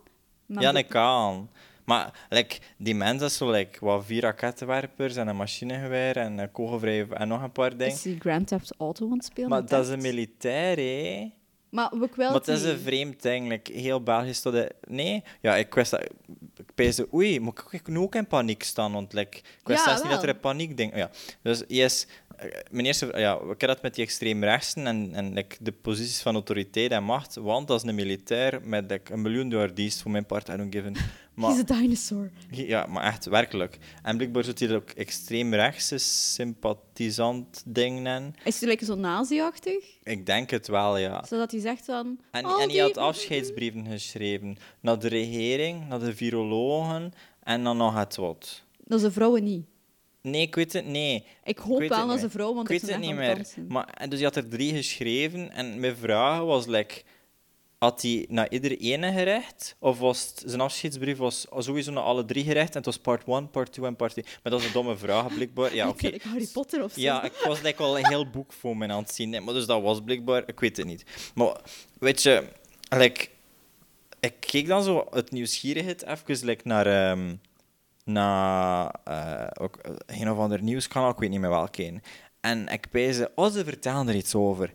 Speaker 3: Maar
Speaker 2: Ja,
Speaker 3: de-
Speaker 2: dat kan. Maar like, die mensen, dat is zo like, wat vier rakettenwerpers en een machinegeweer en een kogelvrij en nog een paar dingen.
Speaker 3: Is die Grand Theft Auto aan het spelen?
Speaker 2: Maar dat is
Speaker 3: echt?
Speaker 2: een militair, hè?
Speaker 3: Maar ik wil
Speaker 2: Maar
Speaker 3: het
Speaker 2: het is
Speaker 3: niet.
Speaker 2: een vreemd ding. like, heel Belgisch tot de... Nee? Ja, ik wist dat... Ik peesde, oei, moet ik nu ook in paniek staan? Want like, ik wist
Speaker 3: Ja,
Speaker 2: zelfs niet
Speaker 3: wel.
Speaker 2: dat er een paniek ding... Ja. Dus yes, eh, mijn eerste... Ja, ik heb dat met die extreemrechten en, en like, de posities van autoriteit en macht. Want dat is een militair met like, een miljoen dollar dienst, voor mijn part, I don't give a... Maar,
Speaker 3: He's a dinosaur.
Speaker 2: ja, maar echt, werkelijk. En blijkbaar zit hier ook extreemrechtse sympathisant ding in.
Speaker 3: Is hij lekker zo nazi-achtig?
Speaker 2: Ik denk het wel, ja.
Speaker 3: Zodat hij zegt dan...
Speaker 2: En,
Speaker 3: al
Speaker 2: en
Speaker 3: die-
Speaker 2: die had afscheidsbrieven geschreven naar de regering, naar de virologen en dan nog het wat.
Speaker 3: Dat ze vrouwen niet.
Speaker 2: Nee, ik weet het niet.
Speaker 3: Ik hoop
Speaker 2: weet
Speaker 3: wel
Speaker 2: het
Speaker 3: dat
Speaker 2: niet.
Speaker 3: ze vrouw, want
Speaker 2: ik
Speaker 3: ik
Speaker 2: weet
Speaker 3: ben
Speaker 2: het
Speaker 3: echt
Speaker 2: niet
Speaker 3: aan het
Speaker 2: meer.
Speaker 3: dansen.
Speaker 2: Maar, en dus je had er drie geschreven en mijn vraag was: like, had hij naar ieder ene gerecht? Of was het- zijn afscheidsbrief was sowieso naar alle drie gerecht en het was part 1, part 2 en part 3? Maar dat is een domme vraag, blijkbaar. Ja, oké.
Speaker 3: Ik Harry Potter of zo.
Speaker 2: Ja, ik was like, al een heel boek voor me aan het zien. hè. Maar dus dat was blijkbaar, ik weet het niet. Maar weet je, like, ik keek dan zo het nieuwsgierigheid even like, naar, ehm, naar eh, ook, eh, een of ander nieuwskanaal, ik weet niet meer welke. een. En ik peesde, oh, ze vertellen er iets over.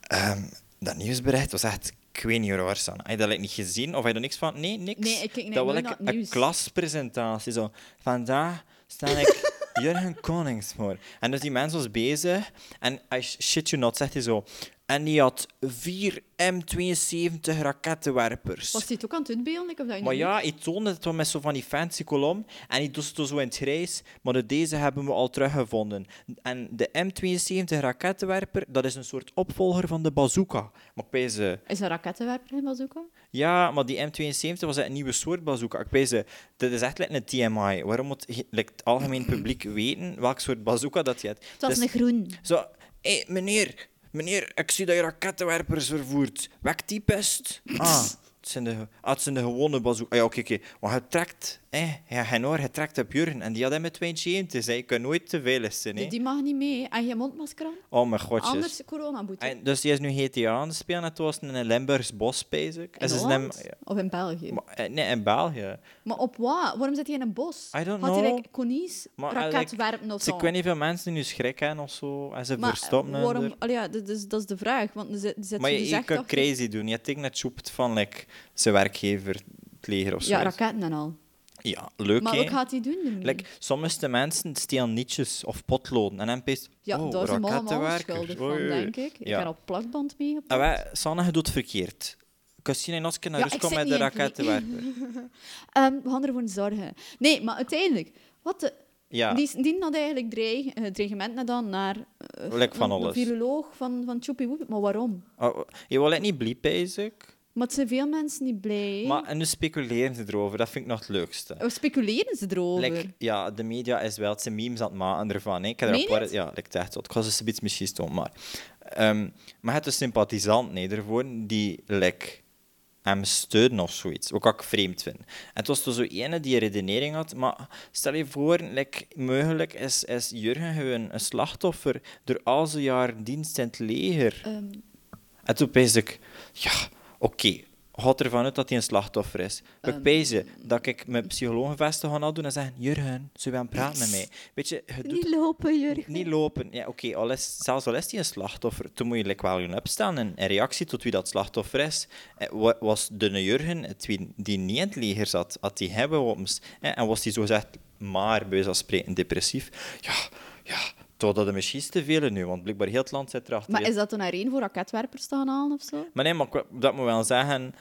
Speaker 2: Ehm, dat nieuwsbericht was echt, ik weet niet waar staan. Had je dat like, niet gezien of had je er niks van? Nee, niks.
Speaker 3: Nee, ik keek
Speaker 2: dat was
Speaker 3: nooit naar het
Speaker 2: een
Speaker 3: nieuws.
Speaker 2: klaspresentatie. Zo, vandaag sta ik Jurgen Konings voor. En dus die mens was bezig. En I sh- shit you not, zegt hij zo. En die had vier M72 rakettenwerpers.
Speaker 3: Was hij het ook aan het uitbeelden? like, Of dat je
Speaker 2: Maar
Speaker 3: niet-
Speaker 2: ja, hij toonde het wel met zo van die fancy kolom. En hij doet het zo in het grijs. Maar de- deze hebben we al teruggevonden. En de M72 rakettenwerper, dat is een soort opvolger van de bazooka. Maar ik bij ze...
Speaker 3: Is een rakettenwerper in bazooka?
Speaker 2: Ja, maar die M72 was een nieuwe soort bazooka. Ik weet ze, dit is echt like een TMI. Waarom moet je- like, het algemeen publiek weten welk soort bazooka dat je hebt?
Speaker 1: Het was
Speaker 2: Dus-
Speaker 1: een groen.
Speaker 2: Zo, hé, meneer, meneer, ik zie dat je rakettenwerpers vervoert. Wek die pest. Ah, het zijn de, ah, het zijn de gewone bazooka. Ah, ja, oké, oké. Maar je trekt, hè, ja, geen hoor, je trekt op Jurgen. En die had hem met 72, hè. Je kan nooit te veilig zijn, hè.
Speaker 3: Die mag niet mee. En je mondmasker aan?
Speaker 2: Oh, mijn godjes.
Speaker 3: Anders coronaboete.
Speaker 2: En, dus die is nu GTA aan het spelen. Het was in een Limburgs bos, bezig.
Speaker 3: In Holland? Of in België? Maar,
Speaker 2: Maar, eh, Nee, in België.
Speaker 3: op wat? Waarom zit hij in een bos?
Speaker 2: I don't
Speaker 3: Had hij
Speaker 2: know.
Speaker 3: like, konies
Speaker 2: Maar, eh, like,
Speaker 3: raketwerpen of
Speaker 2: ze-
Speaker 3: zo?
Speaker 2: Ik weet niet veel mensen die nu schrik hebben of zo. En ze
Speaker 3: Maar
Speaker 2: verstoppen
Speaker 3: eh,
Speaker 2: hun
Speaker 3: waarom...
Speaker 2: er.
Speaker 3: Allee, ja, dat, is, dat is de vraag. Want er zit, er zit
Speaker 2: Maar
Speaker 3: zo
Speaker 2: je,
Speaker 3: die
Speaker 2: je kan
Speaker 3: zegtocht-
Speaker 2: crazy doen. Je hebt tegen het soept van like, zijn werkgever, het leger of zo.
Speaker 3: Ja, raketten en al.
Speaker 2: Ja, leuk
Speaker 3: Maar
Speaker 2: hè?
Speaker 3: wat gaat hij doen? ermee?
Speaker 2: Like, soms de mensen stelen nietjes of potloden en dan peest
Speaker 3: Ja,
Speaker 2: oh,
Speaker 3: daar zijn we allemaal
Speaker 2: rakettenwerkers.
Speaker 3: schuldig van,
Speaker 2: Oei, oei.
Speaker 3: denk ik. Ik
Speaker 2: Ja. Ah.
Speaker 3: ben op plakband
Speaker 2: En
Speaker 3: meegepakt.
Speaker 2: wij, Sanne, je doet het verkeerd. Christine en Oskar naar
Speaker 3: Ja,
Speaker 2: rust
Speaker 3: ik
Speaker 2: komen
Speaker 3: zit
Speaker 2: met de
Speaker 3: niet in het
Speaker 2: rakettenwerper.
Speaker 3: Ehm, we gaan ervoor zorgen. Nee, maar uiteindelijk... Wat de...
Speaker 2: Ja.
Speaker 3: Die, die had eigenlijk dreig, eh, dreigementen gedaan naar... eh,
Speaker 2: Lek van
Speaker 3: een-
Speaker 2: alles.
Speaker 3: Een viroloog van, van Tjoepie Woepie. Maar waarom?
Speaker 2: Oh, je wil het niet bliep, basic.
Speaker 3: Maar het zijn veel mensen niet blij. hè.
Speaker 2: Maar en nu speculeren ze erover, dat vind ik nog het leukste.
Speaker 3: Of speculeren ze erover?
Speaker 2: Like, ja, de media is wel, het zijn memes aan het maken ervan. hè. Ik heb er
Speaker 3: Meen
Speaker 2: een paar-
Speaker 3: het?
Speaker 2: Ja, like, het echt zo. Ik ga ze iets misschien stoom, maar... Ehm, maar het is sympathisant nee, ervoor, die like, hem steunen of zoiets. Ook wat ik vreemd vind. En het was toen zo ene die een redenering had, maar stel je voor, like, mogelijk is, is Jurgen gewoon een slachtoffer door al zijn jaar dienst in het leger.
Speaker 3: Ehm,
Speaker 2: En toen pees ik, ja, oké, houd ervan uit dat hij een slachtoffer is. We
Speaker 3: Ehm.
Speaker 2: pezen dat ik mijn psychologenvesten ga doen en zeggen, Jurgen, zou je aan praten met mij? Weet je, je doet
Speaker 1: Niet lopen, Jurgen.
Speaker 2: niet lopen. Ja, oké, al is- zelfs al is hij een slachtoffer, toen moet je like, wel gaan opstaan en in reactie tot wie dat slachtoffer is. Eh, wa- Was dunne Jurgen, het wie die niet in het leger zat, had die hebben wapens. eh, En was die zogezegd maar, bij wijze van spreken, depressief. Ja, ja, totdat er misschien te veel nu, want blijkbaar heel het land zit erachter.
Speaker 3: maar
Speaker 2: Heel-
Speaker 3: is dat dan er één voor raketwerpers te gaan halen of zo?
Speaker 2: maar nee, maar ik- dat moet wel zeggen.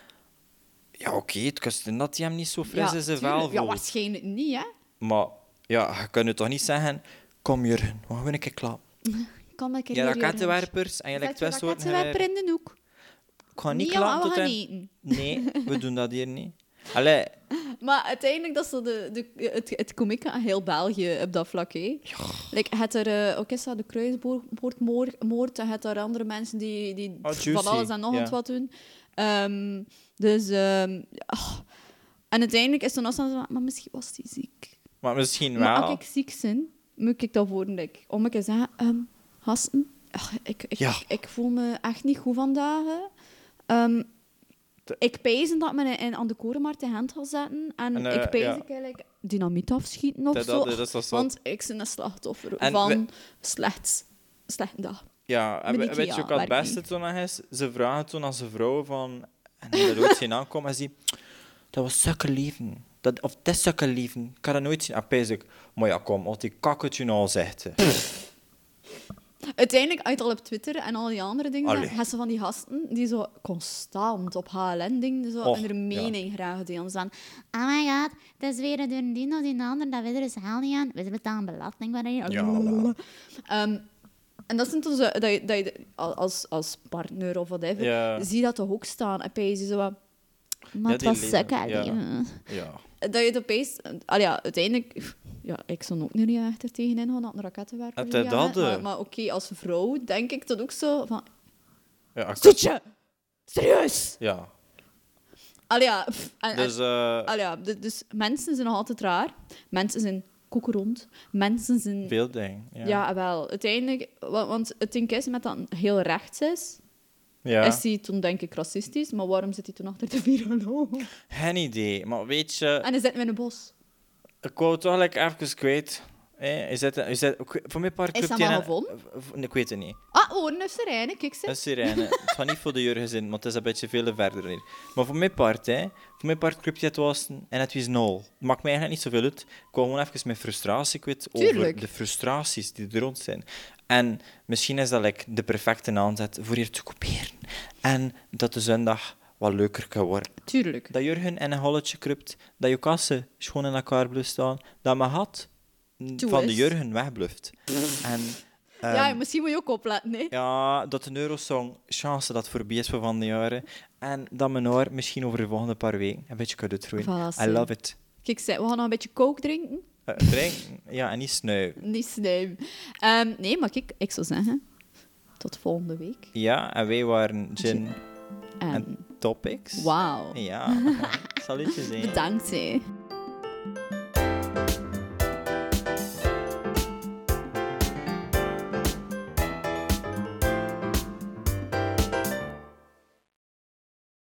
Speaker 2: Ja, oké, het kan zijn dat hij hem niet zo fris is en
Speaker 3: tuurlijk.
Speaker 2: wel
Speaker 3: Ja,
Speaker 2: voelt.
Speaker 3: waarschijnlijk niet, hè?
Speaker 2: Maar ja, je kunt het toch niet zeggen. Kom Jurgen, we gaan een keer klaar.
Speaker 3: Kan eh, dat
Speaker 2: Ja, rakettenwerpers en je lijkt twee soorten
Speaker 3: Raketwerper
Speaker 2: geweer.
Speaker 3: in de hoek.
Speaker 2: Ik ga niet
Speaker 3: Niet allemaal
Speaker 2: klaar tot
Speaker 3: gaan
Speaker 2: in-
Speaker 3: eten.
Speaker 2: Nee, we doen dat hier niet. Allee,
Speaker 3: Maar uiteindelijk, dat is zo de, de, het, het komieke aan heel België op dat vlak. Hè. Like, het er, eh, ook is dat de kruisboordmoord, en het er andere mensen die, die
Speaker 2: Oh, juicy,
Speaker 3: van alles en nog
Speaker 2: ja.
Speaker 3: wat wat doen. Ehm, dus, ehm, ah. en uiteindelijk is dan ook zo van, maar misschien was die ziek.
Speaker 2: maar misschien
Speaker 3: Maar
Speaker 2: wel.
Speaker 3: als ik ziek ben, moet ik dat worden. Like, om een keer te zeggen, ehm gasten, ach, ik, ik,
Speaker 2: Ja.
Speaker 3: ik voel me echt niet goed vandaag. hè. Ehm,
Speaker 2: Te-
Speaker 3: ik pijzen dat men in, aan de korenmarkt de hand gaat zetten. En,
Speaker 2: En, eh,
Speaker 3: ik pijs
Speaker 2: ja.
Speaker 3: ik eigenlijk dynamiet afschieten of
Speaker 2: Dat-
Speaker 3: zo.
Speaker 2: dat- dat is wel zo.
Speaker 3: Want ik ben een slachtoffer
Speaker 2: En
Speaker 3: van
Speaker 2: we-
Speaker 3: slechts, slechte dag.
Speaker 2: Ja, en
Speaker 3: Met
Speaker 2: we-
Speaker 3: Ikea
Speaker 2: weet je ook wat het
Speaker 3: werkt
Speaker 2: beste
Speaker 3: niet.
Speaker 2: toen nog is? Ze vragen toen aan zijn vrouw van... En die dat ooit zien aankomen en ze die... Dat was zulke lieven. Dat, of dat is zulke lieven. Ik kan dat nooit zien. En pijs ik... Maar ja, kom, wat die kakkertje nou zegt. hè."
Speaker 3: Uiteindelijk, uit al op Twitter en al die andere dingen,
Speaker 2: Allee.
Speaker 3: hebben ze van die gasten die zo constant op HLN-dingen zo
Speaker 2: Och,
Speaker 3: in hun
Speaker 2: ja.
Speaker 3: mening graag deel zijn.
Speaker 1: Oh my god, het is weer een dino die een ander, dat weet er dus haal niet aan. We betalen belasting wanneer.
Speaker 2: Ja, voilà.
Speaker 3: Ehm, en dat is dus dat je, dat je als, als partner of whatever,
Speaker 2: Ja.
Speaker 3: zie je dat toch ook staan. En opeens is zo wat-
Speaker 1: Maar het
Speaker 2: die
Speaker 1: was
Speaker 2: leven,
Speaker 1: sukken,
Speaker 2: ja.
Speaker 1: leven.
Speaker 2: Ja.
Speaker 3: dat je het opeens... Ah ja, uiteindelijk... Ja, ik zou ook niet echt er tegenin gaan dat een rakettenwerper...
Speaker 2: Het, eh,
Speaker 3: ja,
Speaker 2: dat, eh.
Speaker 3: Maar, maar oké, als vrouw denk ik dat ook zo van...
Speaker 2: Ja, ik-
Speaker 3: Zit je? Serieus?
Speaker 2: ja.
Speaker 3: Allee, ja, pff, en- en-
Speaker 2: Dus, eh
Speaker 3: allee, ja, d- dus mensen zijn nog altijd raar. Mensen zijn koekerond. Mensen zijn...
Speaker 2: veel dingen. Ja.
Speaker 3: Ja, wel. Uiteindelijk... wa- Want het ding is, met dat het heel rechts is...
Speaker 2: Ja.
Speaker 3: Is hij toen, denk ik, racistisch, maar waarom zit hij toen achter de viroloog?
Speaker 2: Eh. Geen idee. Maar weet je,
Speaker 3: En hij zit met een bos.
Speaker 2: ik wou het toch like, even kwijt. Eh, is dat, is dat, ik- voor mijn part...
Speaker 3: Is
Speaker 2: klopt
Speaker 3: dat
Speaker 2: die
Speaker 3: maar
Speaker 2: een-
Speaker 3: gevonden?
Speaker 2: v- Ik weet het niet.
Speaker 3: Ah, oh, een sirene, kijk ze.
Speaker 2: Een sirene. het gaat niet voor de Jurgen zijn, want het is een beetje veel verder hier. Maar voor mijn part, hè, voor mijn part klopt het was en het was nul. Het maakt mij eigenlijk niet zoveel uit. Ik kwam gewoon even mijn frustratie kwijt over
Speaker 3: Tuurlijk.
Speaker 2: de frustraties die er rond zijn. En misschien is dat like, de perfecte aanzet voor hier te kopiëren. En dat de zondag wat leuker kan worden.
Speaker 3: Tuurlijk.
Speaker 2: Dat Jurgen in een holletje krupt, dat je kassen schoon in elkaar blijft staan, dat mijn hat mm,
Speaker 3: Toe
Speaker 2: van de
Speaker 3: is.
Speaker 2: Jurgen wegbluft. En, ehm,
Speaker 3: ja, misschien moet je ook opletten, hè.
Speaker 2: ja, dat de Eurosong chance dat het voorbij is voor van de jaren. En dat mijn haar misschien over de volgende paar weken een beetje kan uitgroeien.
Speaker 3: Voilà,
Speaker 2: I
Speaker 3: zie.
Speaker 2: love it.
Speaker 3: Kijk ze, we gaan nog een beetje coke drinken.
Speaker 2: Eh, drinken, ja, en niet snuiven.
Speaker 3: Niet slijm. Ehm, nee, maar kijk, ik zou zeggen, tot volgende week.
Speaker 2: Ja, en wij waren Gin
Speaker 3: En
Speaker 2: en Topics.
Speaker 3: wauw.
Speaker 2: Ja, salutjes hè.
Speaker 3: Bedankt, hè.